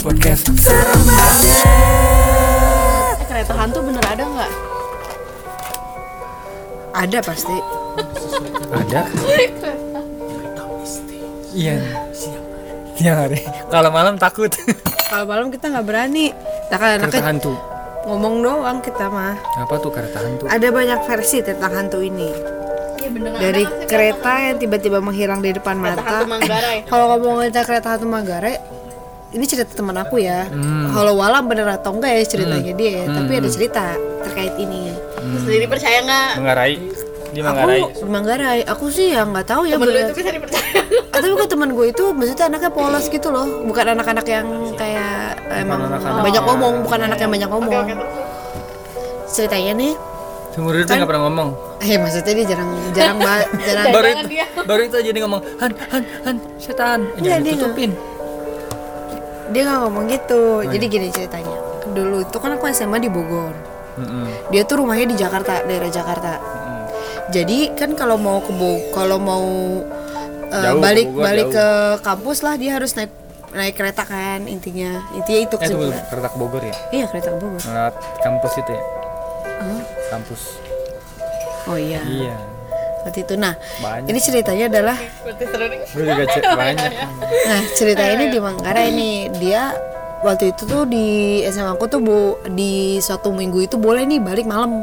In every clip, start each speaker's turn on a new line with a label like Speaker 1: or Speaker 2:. Speaker 1: podcast.
Speaker 2: Eh, kereta hantu bener ada nggak?
Speaker 3: Ada pasti.
Speaker 1: Ada. Iya. Siang hari. Kalau malam takut.
Speaker 3: Kalau malam kita nggak berani. Kita kan
Speaker 1: Kereta
Speaker 3: anaknya
Speaker 1: hantu.
Speaker 3: ngomong doang kita mah.
Speaker 1: Apa tuh kereta hantu?
Speaker 3: Ada banyak versi tentang hantu ini.
Speaker 2: Iya bener
Speaker 3: Dari kereta yang tiba-tiba menghilang di depan
Speaker 2: Kereta hantu
Speaker 3: mata.
Speaker 2: Manggarai.
Speaker 3: Kalau ngomongin tentang kereta hantu Manggarai, ini cerita teman aku ya. Kalau walang bener atau enggak ya ceritanya dia, ya. tapi ada cerita terkait ini.
Speaker 2: Sendiri percaya nggak?
Speaker 1: Menggarai. Di
Speaker 3: Aku di Manggarai, aku sih ya nggak tahu ya
Speaker 2: Temen lu
Speaker 3: bener.
Speaker 2: itu kan bisa dipercaya
Speaker 3: Ah, tapi kok teman gue itu maksudnya anaknya polos gitu loh bukan anak-anak yang kayak emang
Speaker 1: anak-anak
Speaker 3: banyak
Speaker 1: yang-
Speaker 3: ngomong bukan anak yang banyak ngomong
Speaker 2: Oke, terus.
Speaker 3: ceritanya nih
Speaker 1: Seumur hidup dia nggak pernah ngomong.
Speaker 3: eh maksudnya dia jarang jarang ba- jarang
Speaker 1: Baru itu, baru itu aja dia ngomong han han han setan.
Speaker 3: Iya,
Speaker 1: Jangan
Speaker 3: dia
Speaker 1: tutupin.
Speaker 3: dia nggak ngomong gitu
Speaker 1: Oh, iya.
Speaker 3: jadi gini ceritanya dulu itu kan aku SMA di Bogor
Speaker 1: Mm-mm.
Speaker 3: dia tuh rumahnya di Jakarta daerah Jakarta jadi kan kalau mau ke Bo- kalau mau eh,
Speaker 1: Jauh, ke
Speaker 3: balik
Speaker 1: Bogor,
Speaker 3: balik
Speaker 1: jauh.
Speaker 3: ke kampus lah dia harus naik naik kereta kan intinya intinya itu
Speaker 1: Eh itu
Speaker 3: kesimpulan.
Speaker 1: kereta ke Bogor ya.
Speaker 3: iya kereta ke Bogor
Speaker 1: Lewat kampus itu ya.
Speaker 3: Hah?
Speaker 1: Kampus.
Speaker 3: oh iya
Speaker 1: Iya.
Speaker 3: waktu itu nah
Speaker 1: Banyak.
Speaker 3: ini ceritanya adalah
Speaker 2: Berarti seru nih.
Speaker 1: Gue juga cek banyak.
Speaker 3: nah cerita ini di Manggarai nih dia waktu itu tuh di SMA aku tuh bu di suatu minggu itu boleh nih balik malam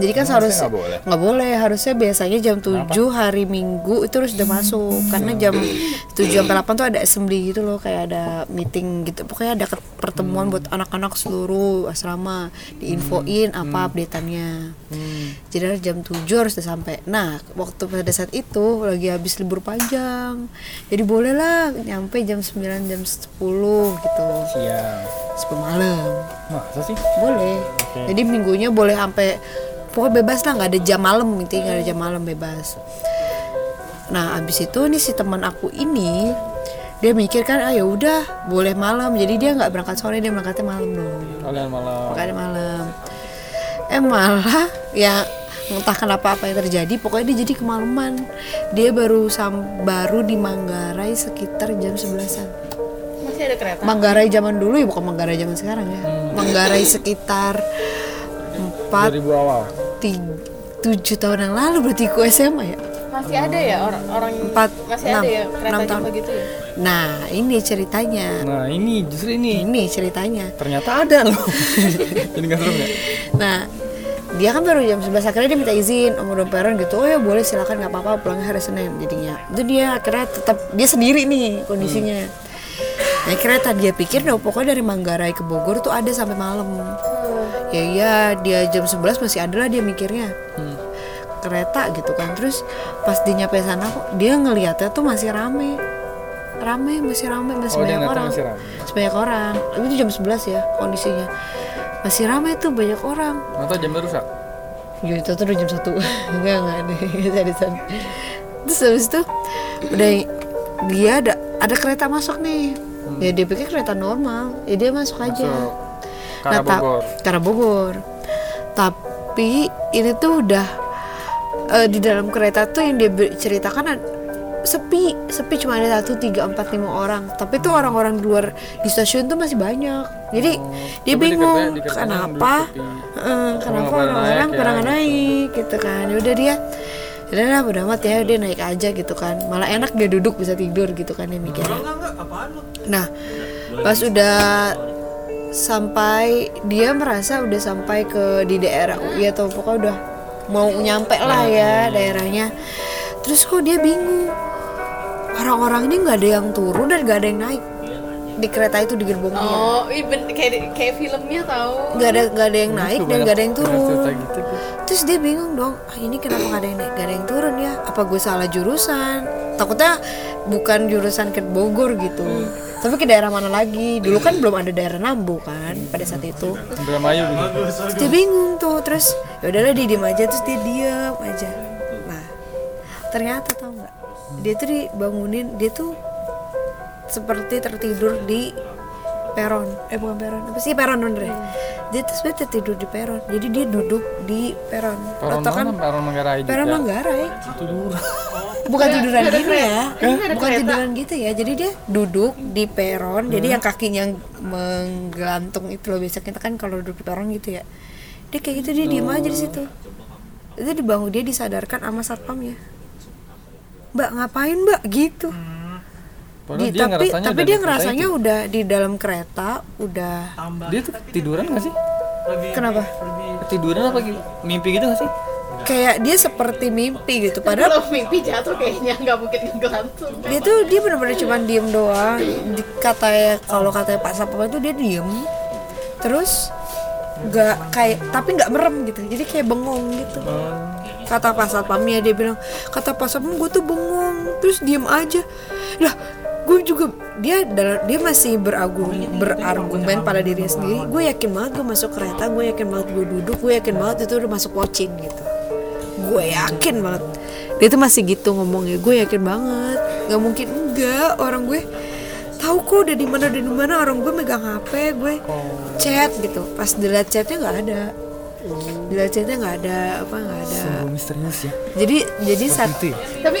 Speaker 3: jadi kan seharusnya
Speaker 1: nggak boleh?
Speaker 3: nggak boleh harusnya biasanya jam 7 hari Minggu itu harus udah masuk karena jam 7 sampai 8 tuh ada assembly gitu loh kayak ada meeting gitu pokoknya ada ket- pertemuan buat anak-anak seluruh asrama diinfoin
Speaker 1: Hmm.
Speaker 3: apa updateannya jadi harus jam 7 harus udah sampai nah waktu pada saat itu lagi habis libur panjang jadi bolehlah nyampe jam 9 jam 10 gitu
Speaker 1: Siang.
Speaker 3: 10 malam
Speaker 1: Iya. Masa sih?
Speaker 3: boleh
Speaker 1: Oke.
Speaker 3: jadi minggunya boleh sampai pokoknya bebas lah nggak ada jam malam intinya nggak ada jam malam bebas nah abis itu nih si teman aku ini dia mikir kan ah ya udah boleh malam jadi dia nggak berangkat sore dia berangkatnya malam dong
Speaker 1: Kalian malam.
Speaker 3: berangkatnya malam eh malah ya entah kenapa apa yang terjadi pokoknya dia jadi kemalaman dia baru sam baru di Manggarai sekitar jam 11an
Speaker 2: Masih ada kereta.
Speaker 3: Manggarai zaman dulu ya bukan Manggarai zaman sekarang ya. Manggarai sekitar 4
Speaker 1: 2000 awal.
Speaker 3: 7 tahun yang lalu berarti ku SMA ya.
Speaker 2: Masih ada ya orang orang
Speaker 3: Empat,
Speaker 2: masih
Speaker 3: enam,
Speaker 2: ada ya kereta
Speaker 3: enam
Speaker 2: jam
Speaker 3: tahun.
Speaker 2: begitu ya.
Speaker 3: Nah, ini ceritanya.
Speaker 1: Nah ini justru ini
Speaker 3: Ini ceritanya.
Speaker 1: ternyata ada loh. Jadi nggak serem ya?
Speaker 3: Nah, dia kan baru jam 11 akhirnya dia minta izin om udah parent gitu oh ya boleh silakan nggak apa-apa pulangnya hari Senin jadinya itu dia akhirnya tetap dia sendiri nih kondisinya nah kereta dia pikir dong pokoknya dari Manggarai ke Bogor tuh ada sampai malam ya iya dia jam 11 masih ada lah dia mikirnya
Speaker 1: Hmm.
Speaker 3: kereta gitu kan terus pas dia nyampe sana kok dia ngeliatnya tuh masih rame rame masih rame masih
Speaker 1: Oh, dia
Speaker 3: banyak
Speaker 1: ngeliatnya
Speaker 3: orang
Speaker 1: masih rame.
Speaker 3: sebanyak orang itu jam 11 ya kondisinya masih ramai tuh banyak orang
Speaker 1: Atau jam rusak?
Speaker 3: Ya itu tuh udah jam satu Enggak enggak ada Dari sana Terus habis itu Udah Dia ada Ada kereta masuk nih Ya dia pikir kereta normal Ya dia masuk
Speaker 1: Hmm.
Speaker 3: aja
Speaker 1: Masuk. Karena
Speaker 3: Nah, ta-
Speaker 1: Bogor.
Speaker 3: Karena Bogor Tapi Ini tuh udah eh, Di dalam kereta tuh yang dia ber- ceritakan ad- Sepi Sepi cuma ada satu tiga empat lima orang Tapi tuh orang-orang di luar Di stasiun tuh masih banyak Jadi
Speaker 1: tapi di
Speaker 3: Dia
Speaker 1: kereta- di
Speaker 3: bingung
Speaker 1: keretanya
Speaker 3: Kenapa
Speaker 1: belum sepi.
Speaker 3: Heeh, kenapa
Speaker 1: pada
Speaker 3: orang-orang
Speaker 1: naik ya,
Speaker 3: pada nggak naik gitu kan ya udah dia udah lah bodo amat ya dia naik aja gitu kan malah enak dia duduk bisa tidur gitu kan dia mikirnya nah pas udah sampai dia merasa udah sampai ke di daerah UI atau pokoknya udah mau nyampe
Speaker 1: Nah.
Speaker 3: lah ya daerahnya terus kok dia bingung orang-orang ini nggak ada yang turun dan nggak ada yang naik di kereta itu di gerbong dia
Speaker 2: Oh, ih, ben- kayak di- kayak filmnya tahu.
Speaker 3: nggak ada nggak ada yang naik dan nggak ada yang
Speaker 1: Banyak
Speaker 3: turun
Speaker 1: cerita gitu.
Speaker 3: terus dia bingung dong ah, ini kenapa gak ada yang naik gak ada yang turun ya apa gue salah jurusan takutnya bukan jurusan ke Bogor gitu tapi ke daerah mana lagi dulu kan belum ada daerah Nambu kan pada saat itu
Speaker 1: Indramayu gitu.
Speaker 3: Terus dia bingung tuh terus ya udahlah dia diem aja terus dia diem aja nah ternyata tau nggak dia tuh dibangunin dia tuh seperti tertidur di peron eh bukan peron apa sih peron bener ya? dia tuh sebenarnya tertidur di peron jadi dia duduk di peron
Speaker 1: Peron
Speaker 3: Atau
Speaker 1: mana? Peron Manggarai juga.
Speaker 3: Peron Manggarai.
Speaker 1: Tidur.
Speaker 3: bukan tiduran
Speaker 2: Iya, ada
Speaker 3: gitu ya
Speaker 2: kereta. Ada
Speaker 3: bukan
Speaker 2: kereta. Hmm.
Speaker 3: tiduran gitu ya jadi dia duduk di peron jadi yang kakinya menggelantung itu loh biasa kita kan kalau duduk di peron gitu ya dia kayak gitu dia diem aja di situ itu dibangun dia disadarkan sama satpamnya mbak ngapain mbak gitu
Speaker 2: Hmm.
Speaker 1: Padahal
Speaker 3: Di-
Speaker 1: dia
Speaker 3: tapi
Speaker 1: ngerasanya
Speaker 3: tapi
Speaker 1: udah
Speaker 3: dia
Speaker 1: di kereta
Speaker 3: ngerasanya
Speaker 1: itu.
Speaker 3: udah di dalam kereta udah
Speaker 1: Dia tuh tiduran gak sih?
Speaker 3: kenapa
Speaker 1: Tiduran apa gitu? Mimpi gitu gak sih?
Speaker 3: kayak dia seperti mimpi gitu padahal
Speaker 2: Kalau mimpi jatuh kayaknya nggak mungkin ngegelantung.
Speaker 3: dia tuh dia bener-bener cuma diem doang di katanya kalau katanya pak satpam itu dia diem terus nggak kayak tapi nggak merem gitu jadi kayak bengong gitu kata pak satpamnya dia bilang kata pak satpam gue tuh bengong terus diem aja lah gue juga dia dalam- dia masih berargumen berargumen pada diri sendiri gue yakin banget gue masuk kereta gue yakin banget gue duduk gue yakin banget itu udah masuk pocin gitu gue yakin banget dia tuh masih gitu ngomongnya gue yakin banget nggak mungkin enggak orang gue tahu kok udah di mana udah di mana orang gue megang hp gue chat gitu pas dilihat chatnya nggak ada dilihat chatnya nggak ada apa nggak ada
Speaker 1: Sungguh misterius ya.
Speaker 3: jadi jadi saat
Speaker 1: Itu ya.
Speaker 2: Tapi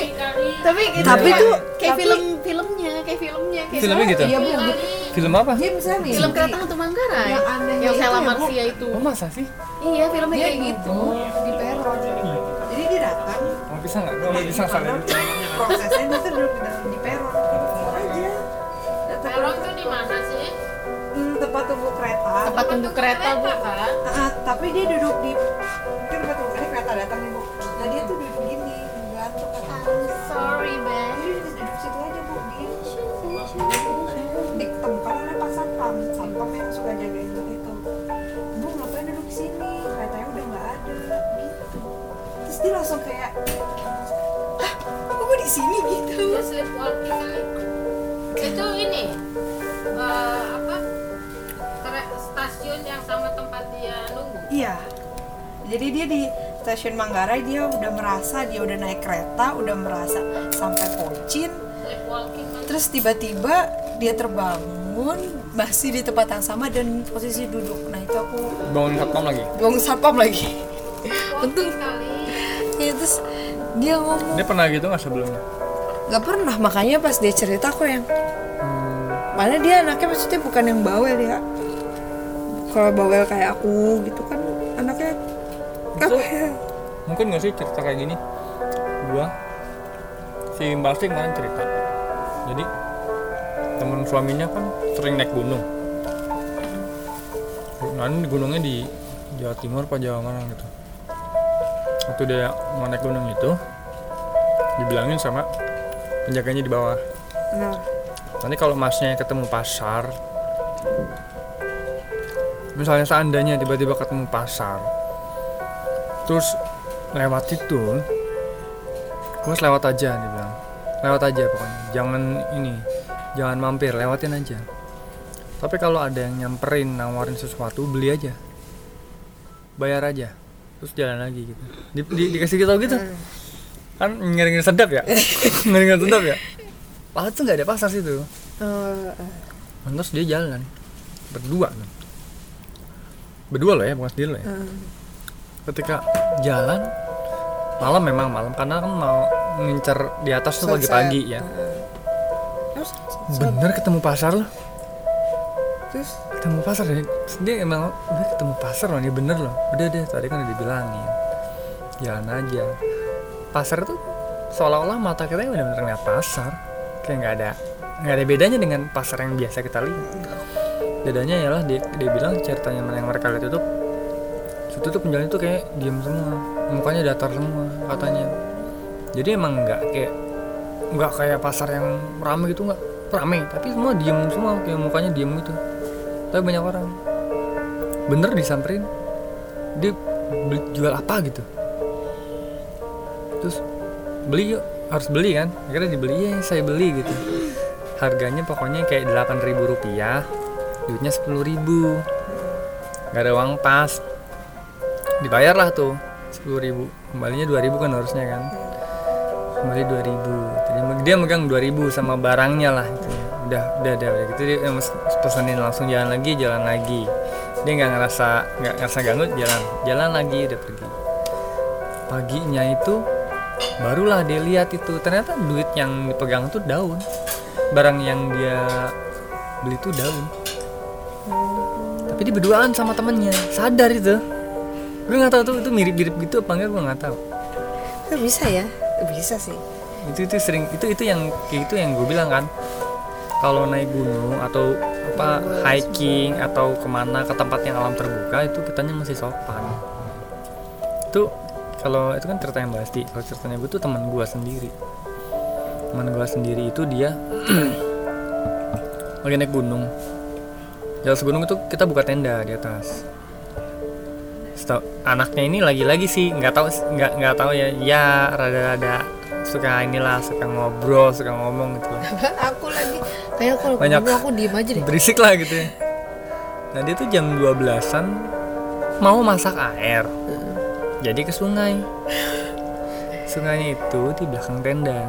Speaker 2: tapi itu
Speaker 3: Tapi
Speaker 2: kayak-
Speaker 3: tuh-
Speaker 2: kayak
Speaker 3: tapi-
Speaker 2: film filmnya, kayak filmnya kayak
Speaker 1: Filmnya gitu.
Speaker 3: iya bu bu-
Speaker 1: Film apa?
Speaker 3: dia misalnya nih,
Speaker 2: Film kereta hantu Manggarai
Speaker 3: Yang anehnya
Speaker 2: yang
Speaker 3: itu
Speaker 2: Sela
Speaker 3: ya, Bu.
Speaker 2: Marsia itu.
Speaker 1: Oh, masa sih?
Speaker 2: Iya, filmnya
Speaker 3: dia
Speaker 2: kayak gitu.
Speaker 3: gitu di peron jadi dia datang
Speaker 1: Mau bisa nggak? Mau bisa salah.
Speaker 4: Karena prosesnya dia tuh duduk di dalam- di peron Gitu aja
Speaker 5: Peron tuh di mana sih?
Speaker 4: Hmm, tepat tunggu kereta
Speaker 2: Tempat tunggu kereta, Bu.
Speaker 5: kan?
Speaker 4: Ah, tapi dia duduk di mungkin tempat tunggu kereta, kereta datang nih bu nah dia tuh duduk gini gantung ke atas
Speaker 5: Sorry, Ben.
Speaker 4: jadi dia duduk situ aja bu dia di tempat ada pak satpam satpam yang suka jagain itu itu bu ngapain duduk di sini keretanya udah nggak ada gitu terus dia langsung kayak "Hah, kok gue di sini gitu
Speaker 5: Dia sleepwalking aja. Itu ini eh, apa? Kere- Stasiun yang sama tempat dia nunggu.
Speaker 4: Iya. Jadi dia di stasiun Manggarai dia udah merasa dia udah naik kereta, udah merasa sampai Pocin,
Speaker 5: Sleepwalking kan?
Speaker 4: terus tiba-tiba dia terbangun masih di tempat yang sama dan posisi duduk. Nah itu aku
Speaker 1: Bangun satpam lagi.
Speaker 4: buang satpam lagi.
Speaker 5: Sleepwalking kali.
Speaker 3: ya, terus dia ngomong
Speaker 1: Dia pernah gitu nggak sebelumnya?
Speaker 3: nggak pernah makanya pas dia cerita aku yang mana dia anaknya maksudnya bukan yang bawel ya kalau bawel kayak aku gitu kan anaknya
Speaker 1: Itu-
Speaker 3: apa ya
Speaker 1: Mungkin nggak sih cerita kayak gini? Gua si Mbak Asti kemarin cerita. Jadi teman suaminya kan sering naik gunung. Nah, ini gunungnya di Jawa Timur apa Jawa mana gitu. Waktu dia mau naik gunung itu dibilangin sama penjaganya di bawah.
Speaker 3: nah
Speaker 1: Nanti kalau masnya ketemu pasar Misalnya seandainya tiba-tiba ketemu pasar Terus lewat situ Terus lewat aja dia bilang Lewat aja pokoknya Jangan ini Jangan mampir lewatin aja Tapi kalau ada yang nyamperin nawarin sesuatu Beli aja Bayar aja Terus jalan lagi gitu di, di- Dikasih kita gitu
Speaker 3: eh,
Speaker 1: Kan ngiringin sedap ya Ngiringin sedap ya Padahal tuh nggak ada pasar situ
Speaker 3: eh,
Speaker 1: Nah, Terus dia jalan berdua kan. Berdua loh ya, bukan sendiri loh ya.
Speaker 3: eh.
Speaker 1: Ketika jalan malam memang malam karena kan mau ngincer di atas tuh
Speaker 3: Sunset.
Speaker 1: pagi-pagi ya.
Speaker 3: Eh, terus
Speaker 1: Bener ketemu pasar loh.
Speaker 3: terus
Speaker 1: Ketemu pasar ya. Terus Dia emang udah ketemu pasar loh, ini bener loh. Udah deh, tadi kan udah dibilangin. Jalan aja. Pasar tuh seolah-olah mata kita benar-benar ngeliat pasar. Kayak nggak ada nggak ada bedanya dengan pasar yang biasa kita lihat. bedanya ialah dia, dia bilang ceritanya mana yang mereka lihat itu situ tuh penjalan itu kayak diem semua mukanya datar semua katanya jadi emang nggak kayak nggak kayak pasar yang rame gitu nggak rame tapi semua diem semua kayak mukanya diem gitu tapi banyak orang bener disamperin dia beli- jual apa gitu terus beli yuk harus beli kan akhirnya dibeli ya saya beli gitu harganya pokoknya kayak 8.000 rupiah duitnya 10.000 nggak ada uang pas dibayar lah tuh 10.000 kembalinya 2.000 kan harusnya kan kembali 2.000 jadi me- dia megang 2.000 sama barangnya lah gitu ya. udah udah udah, udah gitu dia em- pesenin langsung jalan lagi jalan lagi dia nggak ngerasa nggak ngerasa ganggu jalan jalan lagi udah pergi paginya itu barulah dia lihat itu ternyata duit yang dipegang tuh daun barang yang dia beli tuh daun tapi dia berduaan sama temennya sadar itu gue nggak tahu tuh itu mirip-mirip gitu apa enggak gue nggak tahu
Speaker 3: Itu bisa ya? Bisa sih.
Speaker 1: itu itu sering itu itu yang kayak itu yang gue bilang kan kalau naik gunung atau apa hiking atau kemana ke tempat yang alam terbuka itu kitanya masih sopan itu kalau itu kan cerita yang pasti kalau ceritanya gue tuh teman gue sendiri teman gue sendiri itu dia lagi naik gunung di atas gunung itu kita buka tenda di atas Setau- anaknya ini lagi-lagi sih nggak tahu nggak nggak tahu ya ya rada-rada suka inilah suka ngobrol suka ngomong gitu lah.
Speaker 3: aku lagi kayak kalau
Speaker 1: Banyak.
Speaker 3: ngomong aku diem aja deh.
Speaker 1: berisik lah gitu ya nah dia tuh jam 12an mau masak air jadi ke sungai sungainya itu di belakang tenda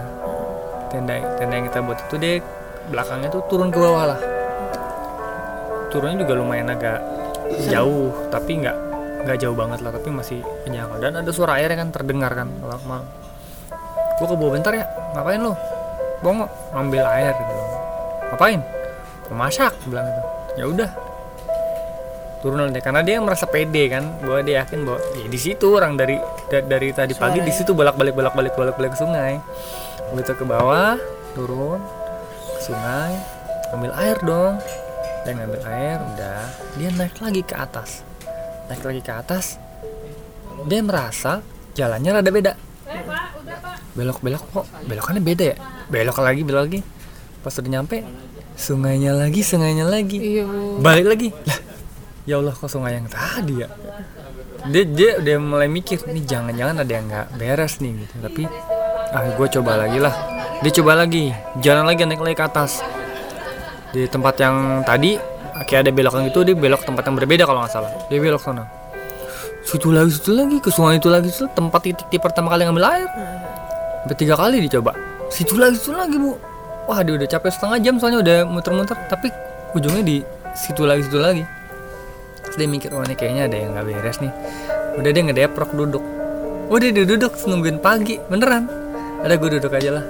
Speaker 1: tenda tenda yang kita buat itu deh belakangnya tuh turun ke bawah lah turunnya juga lumayan agak jauh tapi nggak nggak jauh banget lah tapi masih kenyang dan ada suara air yang kan terdengar kan lama gue ke bawah bentar ya ngapain lo bongo ngambil air gitu ngapain memasak bilang gitu ya udah turun deh karena dia merasa pede kan bahwa dia yakin bahwa ya di situ orang dari da- dari tadi pagi di situ bolak balik bolak balik bolak balik ke sungai begitu ke bawah turun ke sungai ambil air dong dan ngambil air udah dia naik lagi ke atas naik lagi ke atas dia merasa jalannya rada beda belok belok kok belokannya beda ya belok lagi belok lagi pas udah nyampe sungainya lagi sungainya lagi balik lagi lah ya Allah kok sungai yang tadi ya dia dia udah mulai mikir nih jangan-jangan ada yang nggak beres nih gitu tapi ah gue coba lagi lah dia coba lagi jalan lagi naik lagi ke atas di tempat yang tadi kayak ada belokan gitu dia belok tempat yang berbeda kalau nggak salah dia belok sana situ lagi situ lagi ke sungai itu lagi situ tempat titik titik pertama kali ngambil air sampai tiga kali dicoba situ lagi situ lagi bu wah dia udah capek setengah jam soalnya udah muter-muter tapi ujungnya di situ lagi situ lagi Terus dia mikir oh ini kayaknya ada yang nggak beres nih udah dia ngedeprok duduk udah dia duduk nungguin pagi beneran ada gue duduk aja lah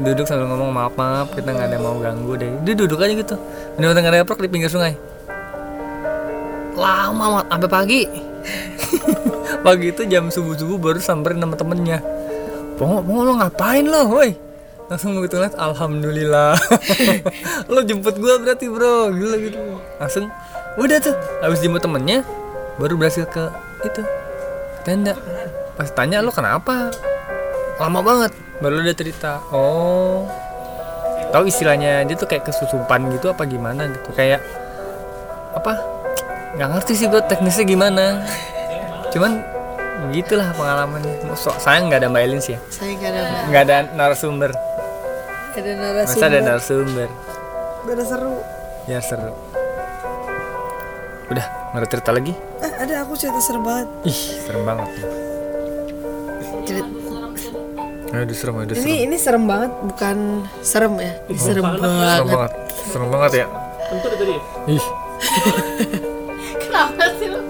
Speaker 1: duduk sambil ngomong maaf maaf kita nggak ada yang mau ganggu deh dia duduk aja gitu bener-bener ngedeprok di pinggir sungai lama amat sampai pagi pagi itu jam subuh subuh baru samperin sama temennya Pongo, Pongo lo ngapain lo, woi? Langsung begitu lihat, alhamdulillah. lo jemput gua berarti bro, gila gitu. Langsung, udah tuh, habis jemput temennya, baru berhasil ke itu tenda. Pas tanya lo kenapa? Lama banget, baru dia cerita. Oh, tahu istilahnya dia tuh kayak kesusupan gitu apa gimana gitu kayak apa nggak ngerti sih gue teknisnya gimana cuman begitulah pengalamannya so, sayang nggak ada mbak Elin sih ya
Speaker 3: Saya nggak ada
Speaker 1: nggak ada narasumber
Speaker 3: nggak ada
Speaker 1: masa
Speaker 3: narasumber.
Speaker 1: ada narasumber
Speaker 4: Gak ada seru.
Speaker 1: ya seru udah nggak ada cerita lagi
Speaker 4: Eh, ada aku cerita seru banget.
Speaker 1: ih serem banget aduh serem aduh serem
Speaker 3: Ini ini serem banget, bukan serem ya. Ini serem banget.
Speaker 1: serem banget serem banget ya ih
Speaker 2: Kenapa sih lu?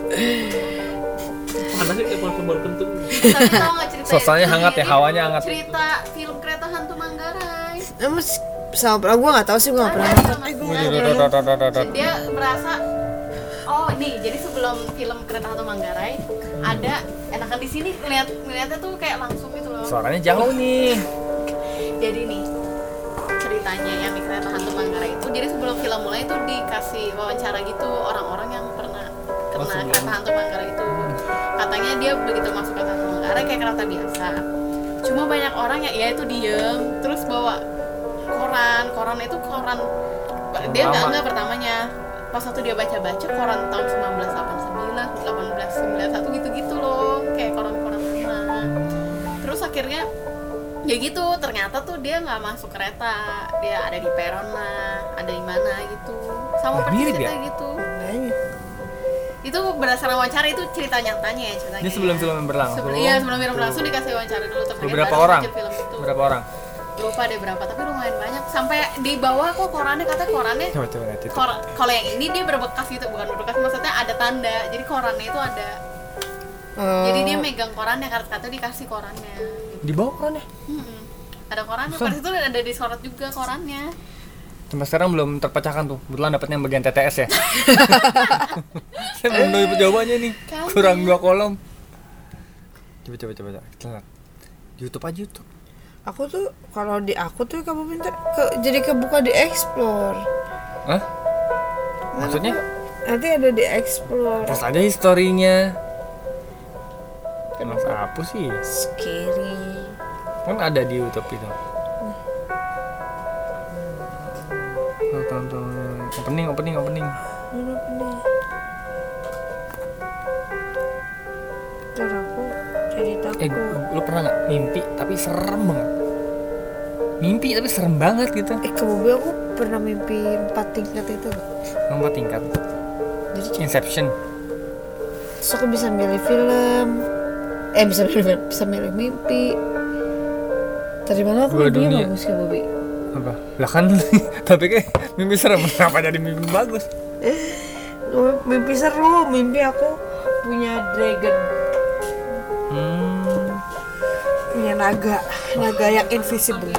Speaker 6: panasnya kayak pohon kentut
Speaker 2: Tapi tau nggak cerita
Speaker 1: Suasananya
Speaker 2: itu?
Speaker 1: hangat ya, hawanya hangat.
Speaker 2: Cerita film kereta hantu Manggarai.
Speaker 3: Emang s- sama pernah gue nggak tahu sih gue nggak pernah.
Speaker 2: Sama dia merasa oh nih jadi sebelum film kereta hantu Manggarai ada enakan di sini ngeliat ngeliatnya tuh kayak langsung gitu loh
Speaker 1: suaranya jauh nih
Speaker 2: jadi nih ceritanya yang di kereta hantu Manggarai itu jadi sebelum film mulai itu dikasih wawancara gitu orang-orang yang pernah kena kereta hantu Manggarai itu katanya dia begitu masuk kereta hantu Manggarai kayak kereta biasa cuma banyak orang yang ya itu diem terus bawa koran koran itu koran dia nggak
Speaker 1: Lama.
Speaker 2: nggak pertamanya pas waktu dia baca-baca koran tahun 1989 1891 gitu-gitu loh kayak koran-koran lama terus akhirnya ya gitu ternyata tuh dia nggak masuk kereta dia ada di peron lah ada di mana gitu
Speaker 1: Wah,
Speaker 2: sama persis
Speaker 1: mirip
Speaker 2: cerita
Speaker 1: ya?
Speaker 2: gitu itu berdasarkan wawancara itu cerita nyatanya ya ceritanya
Speaker 1: Ini sebelum film yang berlangsung.
Speaker 2: Sebelum- iya sebelum film berlangsung dikasih wawancara dulu terus akhirnya
Speaker 1: beberapa
Speaker 2: baru
Speaker 1: orang
Speaker 2: muncul film itu.
Speaker 1: berapa orang
Speaker 2: lupa deh berapa tapi lumayan banyak sampai di bawah kok korannya katanya korannya
Speaker 1: coba coba lihat itu
Speaker 2: kor- kalau yang ini dia berbekas gitu bukan berbekas maksudnya ada tanda
Speaker 3: Eh,
Speaker 1: Oh.
Speaker 2: jadi korannya itu ada jadi dia megang korannya kartu kartu dikasih korannya
Speaker 1: di bawah korannya
Speaker 2: Mm-mm. ada koran pada situ ada disorot juga korannya
Speaker 1: cuma sekarang belum terpecahkan tuh kebetulan dapetnya yang bagian TTS ya saya belum dapat jawabannya nih
Speaker 2: Kan.
Speaker 1: kurang dua kolom coba coba coba coba Kita lihat. Di YouTube aja YouTube
Speaker 3: Aku tuh kalau di aku tuh kamu pinter ke, jadi kebuka di explore.
Speaker 1: Hah? maksudnya
Speaker 3: Nanti ada di explore.
Speaker 1: post aja historinya Emang apa sih?
Speaker 3: Scary.
Speaker 1: Kan ada di YouTube itu. Tuh, tuh, tuh. Opening, opening, opening.
Speaker 3: Mana punya? Ntar aku jadi
Speaker 1: Eh,
Speaker 3: takut.
Speaker 1: gu- lu pernah nggak mimpi tapi serem banget? Mimpi tapi serem banget gitu.
Speaker 3: Eh, ke Bobi aku pernah mimpi empat tingkat itu.
Speaker 1: Nomor tingkat.
Speaker 3: Jadi
Speaker 1: Inception.
Speaker 3: Terus aku bisa milih film Eh bisa milih film, bisa milih mimpi Tadi malam aku
Speaker 1: Dua
Speaker 3: mimpinya
Speaker 1: dunia.
Speaker 3: bagus ya Bobi
Speaker 1: Apa? Lah kan tapi kayak mimpi serem. Kenapa jadi mimpi bagus?
Speaker 3: Oh, Mimpi seru, mimpi aku punya dragon
Speaker 1: Hmm.
Speaker 4: punya naga naga yang invisible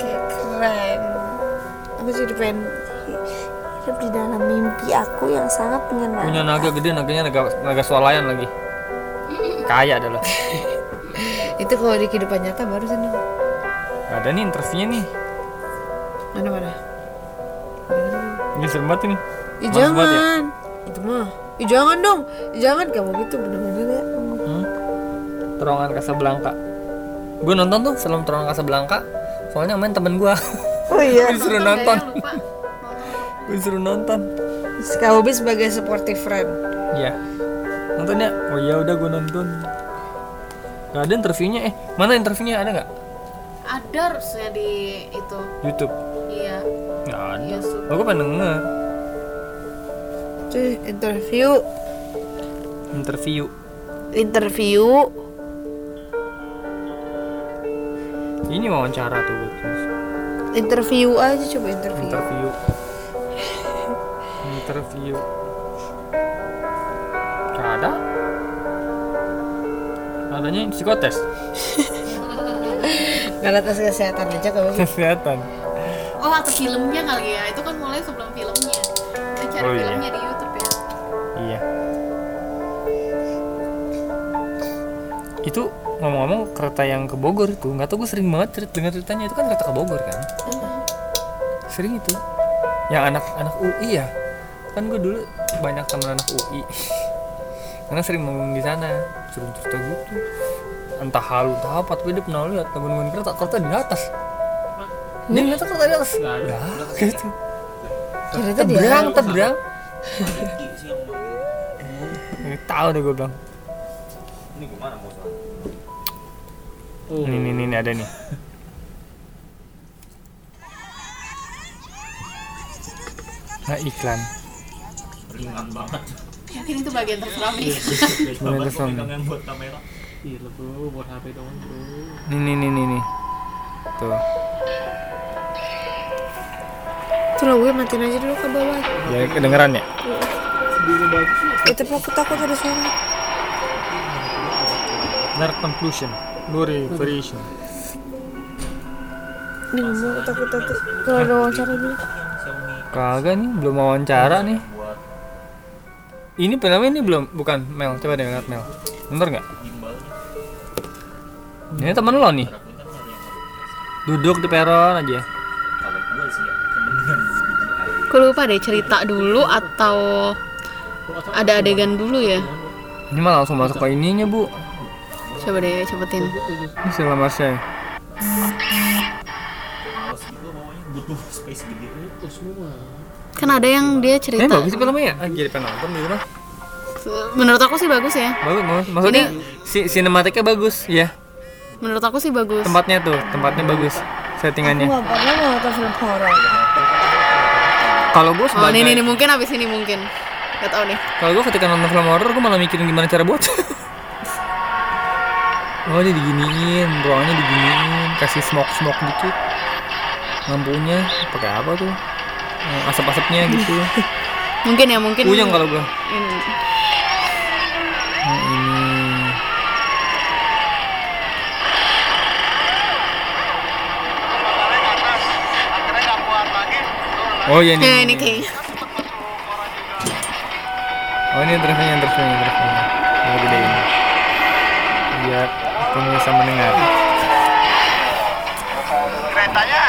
Speaker 3: Kayak keren Aku jadi pengen
Speaker 7: hidup di dalam mimpi aku yang sangat menyenangkan.
Speaker 1: Punya naga gede, naganya naga naga swalayan lagi. Kaya adalah.
Speaker 3: Itu kalau di kehidupan nyata baru seneng
Speaker 1: Ada nih interestnya nih.
Speaker 3: Mana-mana
Speaker 1: Ini serem banget ini.
Speaker 3: Ih
Speaker 1: Males
Speaker 3: jangan
Speaker 1: banget ya?
Speaker 3: Itu mah Ih jangan dong Ih, Jangan kamu gitu bener-bener ya
Speaker 1: Terowongan Casablanca. Gue nonton tuh film Terowongan Casablanca. Soalnya main temen gue.
Speaker 3: Oh iya
Speaker 1: Gue disuruh nonton.
Speaker 2: Kayaknya lupa
Speaker 1: Gue disuruh nonton.
Speaker 3: Kak Bobi sebagai supportive friend
Speaker 1: Iya. Nontonnya? Oh iya udah gue nonton. Gak ada interviewnya eh mana interviewnya ada nggak?
Speaker 2: ada harusnya di itu
Speaker 1: YouTube.
Speaker 2: iya
Speaker 1: Nggak ada.
Speaker 2: iya su-
Speaker 1: Oh, gue pengen denger
Speaker 3: Terus interview
Speaker 1: interview.
Speaker 3: Interview
Speaker 1: Ini wawancara tuh gue tulis.
Speaker 3: interview aja coba interview
Speaker 1: Interview. Interview. Gak ada. Adanya psikotes.
Speaker 3: nggak ada tes kesehatan aja kalau gitu.
Speaker 1: Kesehatan.
Speaker 2: oh atau filmnya kali ya itu kan mulai sebelum filmnya kita cari
Speaker 1: Oh, iya.
Speaker 2: filmnya di YouTube ya
Speaker 1: Iya. Itu ngomong-ngomong kereta yang ke Bogor itu, nggak tahu gue sering banget cerita dengar ceritanya itu kan kereta ke Bogor kan? Sering itu. Yang anak-anak UI ya. Kan gue dulu banyak teman anak UI. Karena sering ngomong di sana, sering cerita gitu. Entah halu entah apa, tapi dia pernah lihat teman-teman kereta kereta di atas. Dia ngeliat kereta di atas.
Speaker 6: Nggak ada.
Speaker 1: Lah, gitu.
Speaker 3: ternyata dia
Speaker 1: Tebrang, tebrang. Nggak Tahu deh gue bilang.
Speaker 6: Oh.
Speaker 1: Ini nih, nih, nih, ada nih. Nah iklan.
Speaker 6: Ringan banget.
Speaker 2: yakin itu bagian terserami
Speaker 1: Gimana tuh, Sam?
Speaker 6: Pegang yang buat kamera. Iya lah, bro, buat HP dong bro.
Speaker 1: Nih nih nih nih nih. Tuh.
Speaker 3: tuh lagunya matiin aja dulu ke bawah
Speaker 1: Ya kedengeran ya.
Speaker 3: itu aku takut ada suara
Speaker 1: Nerd conclusion. Lori variation.
Speaker 3: ini ngomong aku takut takut kalau ada wawancara dulu
Speaker 1: Kagak nih, belum wawancara nih. Ini penamanya ini belum, bukan Mel. Coba deh lihat Mel. Bener nggak? Ini temen lo nih. Duduk di peron aja.
Speaker 2: aku lupa deh cerita dulu atau ada adegan dulu ya
Speaker 1: Ini mah langsung masuk ke ininya bu.
Speaker 2: coba deh cepetin
Speaker 1: Ini Sheila Marshall.
Speaker 6: Butuh space gede. Itu semua.
Speaker 2: kan ada yang dia
Speaker 1: Ini
Speaker 2: cerita
Speaker 1: bagus sih filmnya ya. Ah, jadi penonton di rumah.
Speaker 2: menurut aku sih bagus ya
Speaker 1: Bagus, bagus. maksudnya si sinematiknya bagus ya.
Speaker 2: menurut aku sih bagus
Speaker 1: Tempatnya tuh, tempatnya bagus. Settingannya.
Speaker 3: nggak pernah mau nonton film horor
Speaker 1: Kalau gue
Speaker 2: oh ini, ini, ini
Speaker 1: sebagai,
Speaker 2: mungkin abis ini mungkin gak tau nih
Speaker 1: kalau gue ketika nonton film horor, gue malah mikirin gimana cara buat. oh ini diginiin, ruangnya diginiin, kasih smoke smoke dikit. Lampunya pakai apa tuh? Eh, Asap-asapnya gitu.
Speaker 2: mungkin ya mungkin
Speaker 1: Puyeng kalau gue.
Speaker 2: ini.
Speaker 1: Hmm. Oh iya
Speaker 3: Nah,
Speaker 1: nih.
Speaker 3: ini kayak
Speaker 1: Oh ini interviewnya interviewnya interviewnya. Yang gede ini. Biar pemirsa mendengar.
Speaker 8: keretanya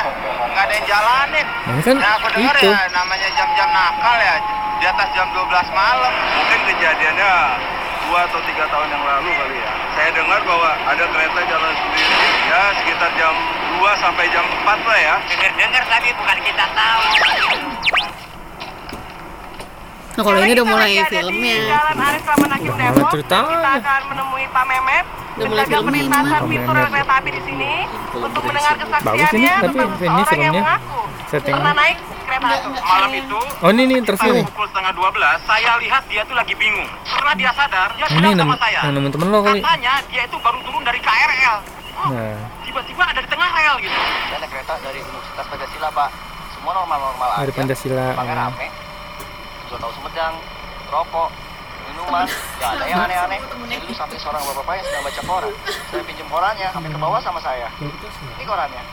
Speaker 8: nggak ada yang jalanin.
Speaker 1: Nah, ini kan
Speaker 8: Nah, aku dengar
Speaker 1: itu.
Speaker 8: ya namanya jam-jam nakal ya di atas jam 12 malam. Mungkin kejadiannya dua atau tiga tahun yang lalu kali ya. Saya dengar bahwa ada kereta jalan sendiri ya sekitar jam 2 sampai jam 4 lah ya. Dengar-dengar tapi bukan kita tahu.
Speaker 2: Nah, kalau ini udah mulai filmnya.
Speaker 9: Jalan Arif Rahman Hakim
Speaker 1: Udah
Speaker 9: Depok.
Speaker 1: amat
Speaker 9: Kita
Speaker 1: ceritanya.
Speaker 9: akan menemui Pak Memet.
Speaker 2: Udah mulai
Speaker 9: Menjaga
Speaker 2: filmnya ini.
Speaker 9: perlintasan
Speaker 1: Pak
Speaker 9: pintu rel
Speaker 1: Memet.
Speaker 9: kereta api di sini untuk mendengar
Speaker 1: Bagus ini,
Speaker 8: Iya,
Speaker 9: kesaksiannya tentang
Speaker 1: tapi ini
Speaker 9: seseorang yang
Speaker 1: filmnya
Speaker 9: mengaku
Speaker 1: setting.
Speaker 9: pernah naik kereta itu.
Speaker 8: Malam itu
Speaker 1: Oh ini nih interview
Speaker 3: iya.
Speaker 1: nih.
Speaker 8: pukul setengah 12 saya lihat dia tuh lagi bingung. Setelah dia sadar, dia
Speaker 1: Ini
Speaker 8: bilang
Speaker 1: yang
Speaker 8: sama saya.
Speaker 1: yang temen lo kali.
Speaker 8: Katanya dia itu baru turun dari KRL. Hmm.
Speaker 1: Nah,
Speaker 8: tiba-tiba ada di tengah rel gitu. Ada kereta dari Universitas Pancasila, Pak. Semua normal-normal aja.
Speaker 1: dari Pancasila.
Speaker 8: Makan rame. Jual tahu Sumedang, rokok, minuman, nggak ada yang aneh-aneh. Itu sampai seorang bapak-bapak yang sedang baca koran. Saya pinjam korannya, sampai ke bawah sama saya. Ini korannya.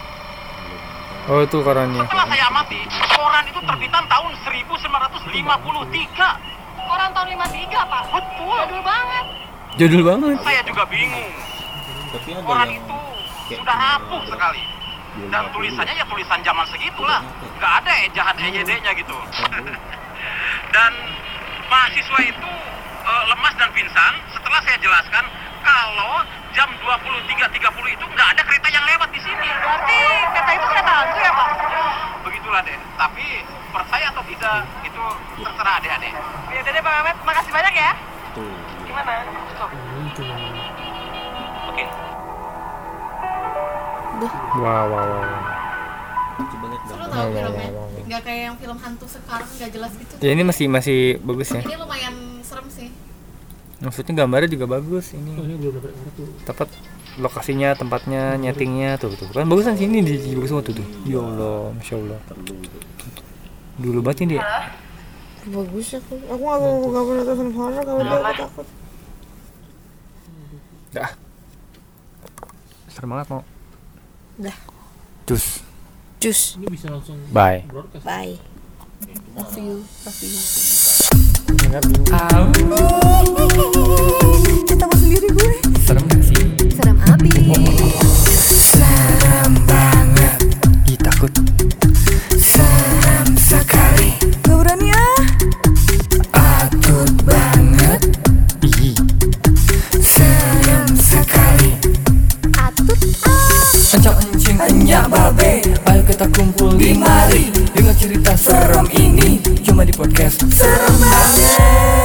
Speaker 1: Oh itu korannya.
Speaker 8: Setelah saya amati, koran itu terbitan tahun 1953. Koran tahun 53, Pak? Betul. Jadul banget.
Speaker 1: Jadul banget.
Speaker 8: Saya juga bingung.
Speaker 6: Tapi ada
Speaker 8: Koran
Speaker 6: yang
Speaker 8: itu
Speaker 6: kayak
Speaker 8: sudah rapuh sekali.
Speaker 6: belum
Speaker 8: dan
Speaker 6: rapi.
Speaker 8: tulisannya ya tulisan zaman segitulah nggak ada ejahan
Speaker 6: Iya.
Speaker 8: EYD-nya gitu dan mahasiswa itu eh, lemas dan pingsan setelah saya jelaskan kalau jam 23.30 itu nggak ada kereta yang lewat di sini berarti kereta itu kereta hantu ya pak begitulah deh tapi percaya atau tidak itu terserah adik-adik ya deh pak Ahmed makasih banyak ya
Speaker 6: Tuh.
Speaker 8: gimana oke
Speaker 1: Wow wow wow. wow.
Speaker 6: Coba lihat
Speaker 2: Terus
Speaker 6: dong.
Speaker 2: Lo
Speaker 1: Wow,
Speaker 2: tau
Speaker 1: wow,
Speaker 2: filmnya?
Speaker 1: wow, wow.
Speaker 2: Gak kayak yang film hantu sekarang gak jelas gitu.
Speaker 1: Ya ini masih masih bagus ya.
Speaker 2: Ini lumayan serem sih.
Speaker 1: Maksudnya gambarnya juga bagus ini. Tepat lokasinya, tempatnya, nyetingnya tuh tuh. Kan bagusan sini di di bagus semua tuh tuh. Ya Allah, masya Allah. Dulu banget ini dia.
Speaker 7: Bagus aku. Aku nggak mau nggak mau nonton film horor kalau dia aku takut.
Speaker 1: Dah. Serem banget mau.
Speaker 7: Dah.
Speaker 1: Cus.
Speaker 7: Cus.
Speaker 1: Bye.
Speaker 7: Bye.
Speaker 1: Serem gak sih?
Speaker 7: Serem abis.
Speaker 1: Ih takut. ah. Serem sekali. Gak berani ya? Takut banget. Ih.
Speaker 7: Atut.
Speaker 1: Encang encing ah. hanya babe Ayo kita kumpul di mari Dengar cerita serem ini Cuma di podcast Serem banget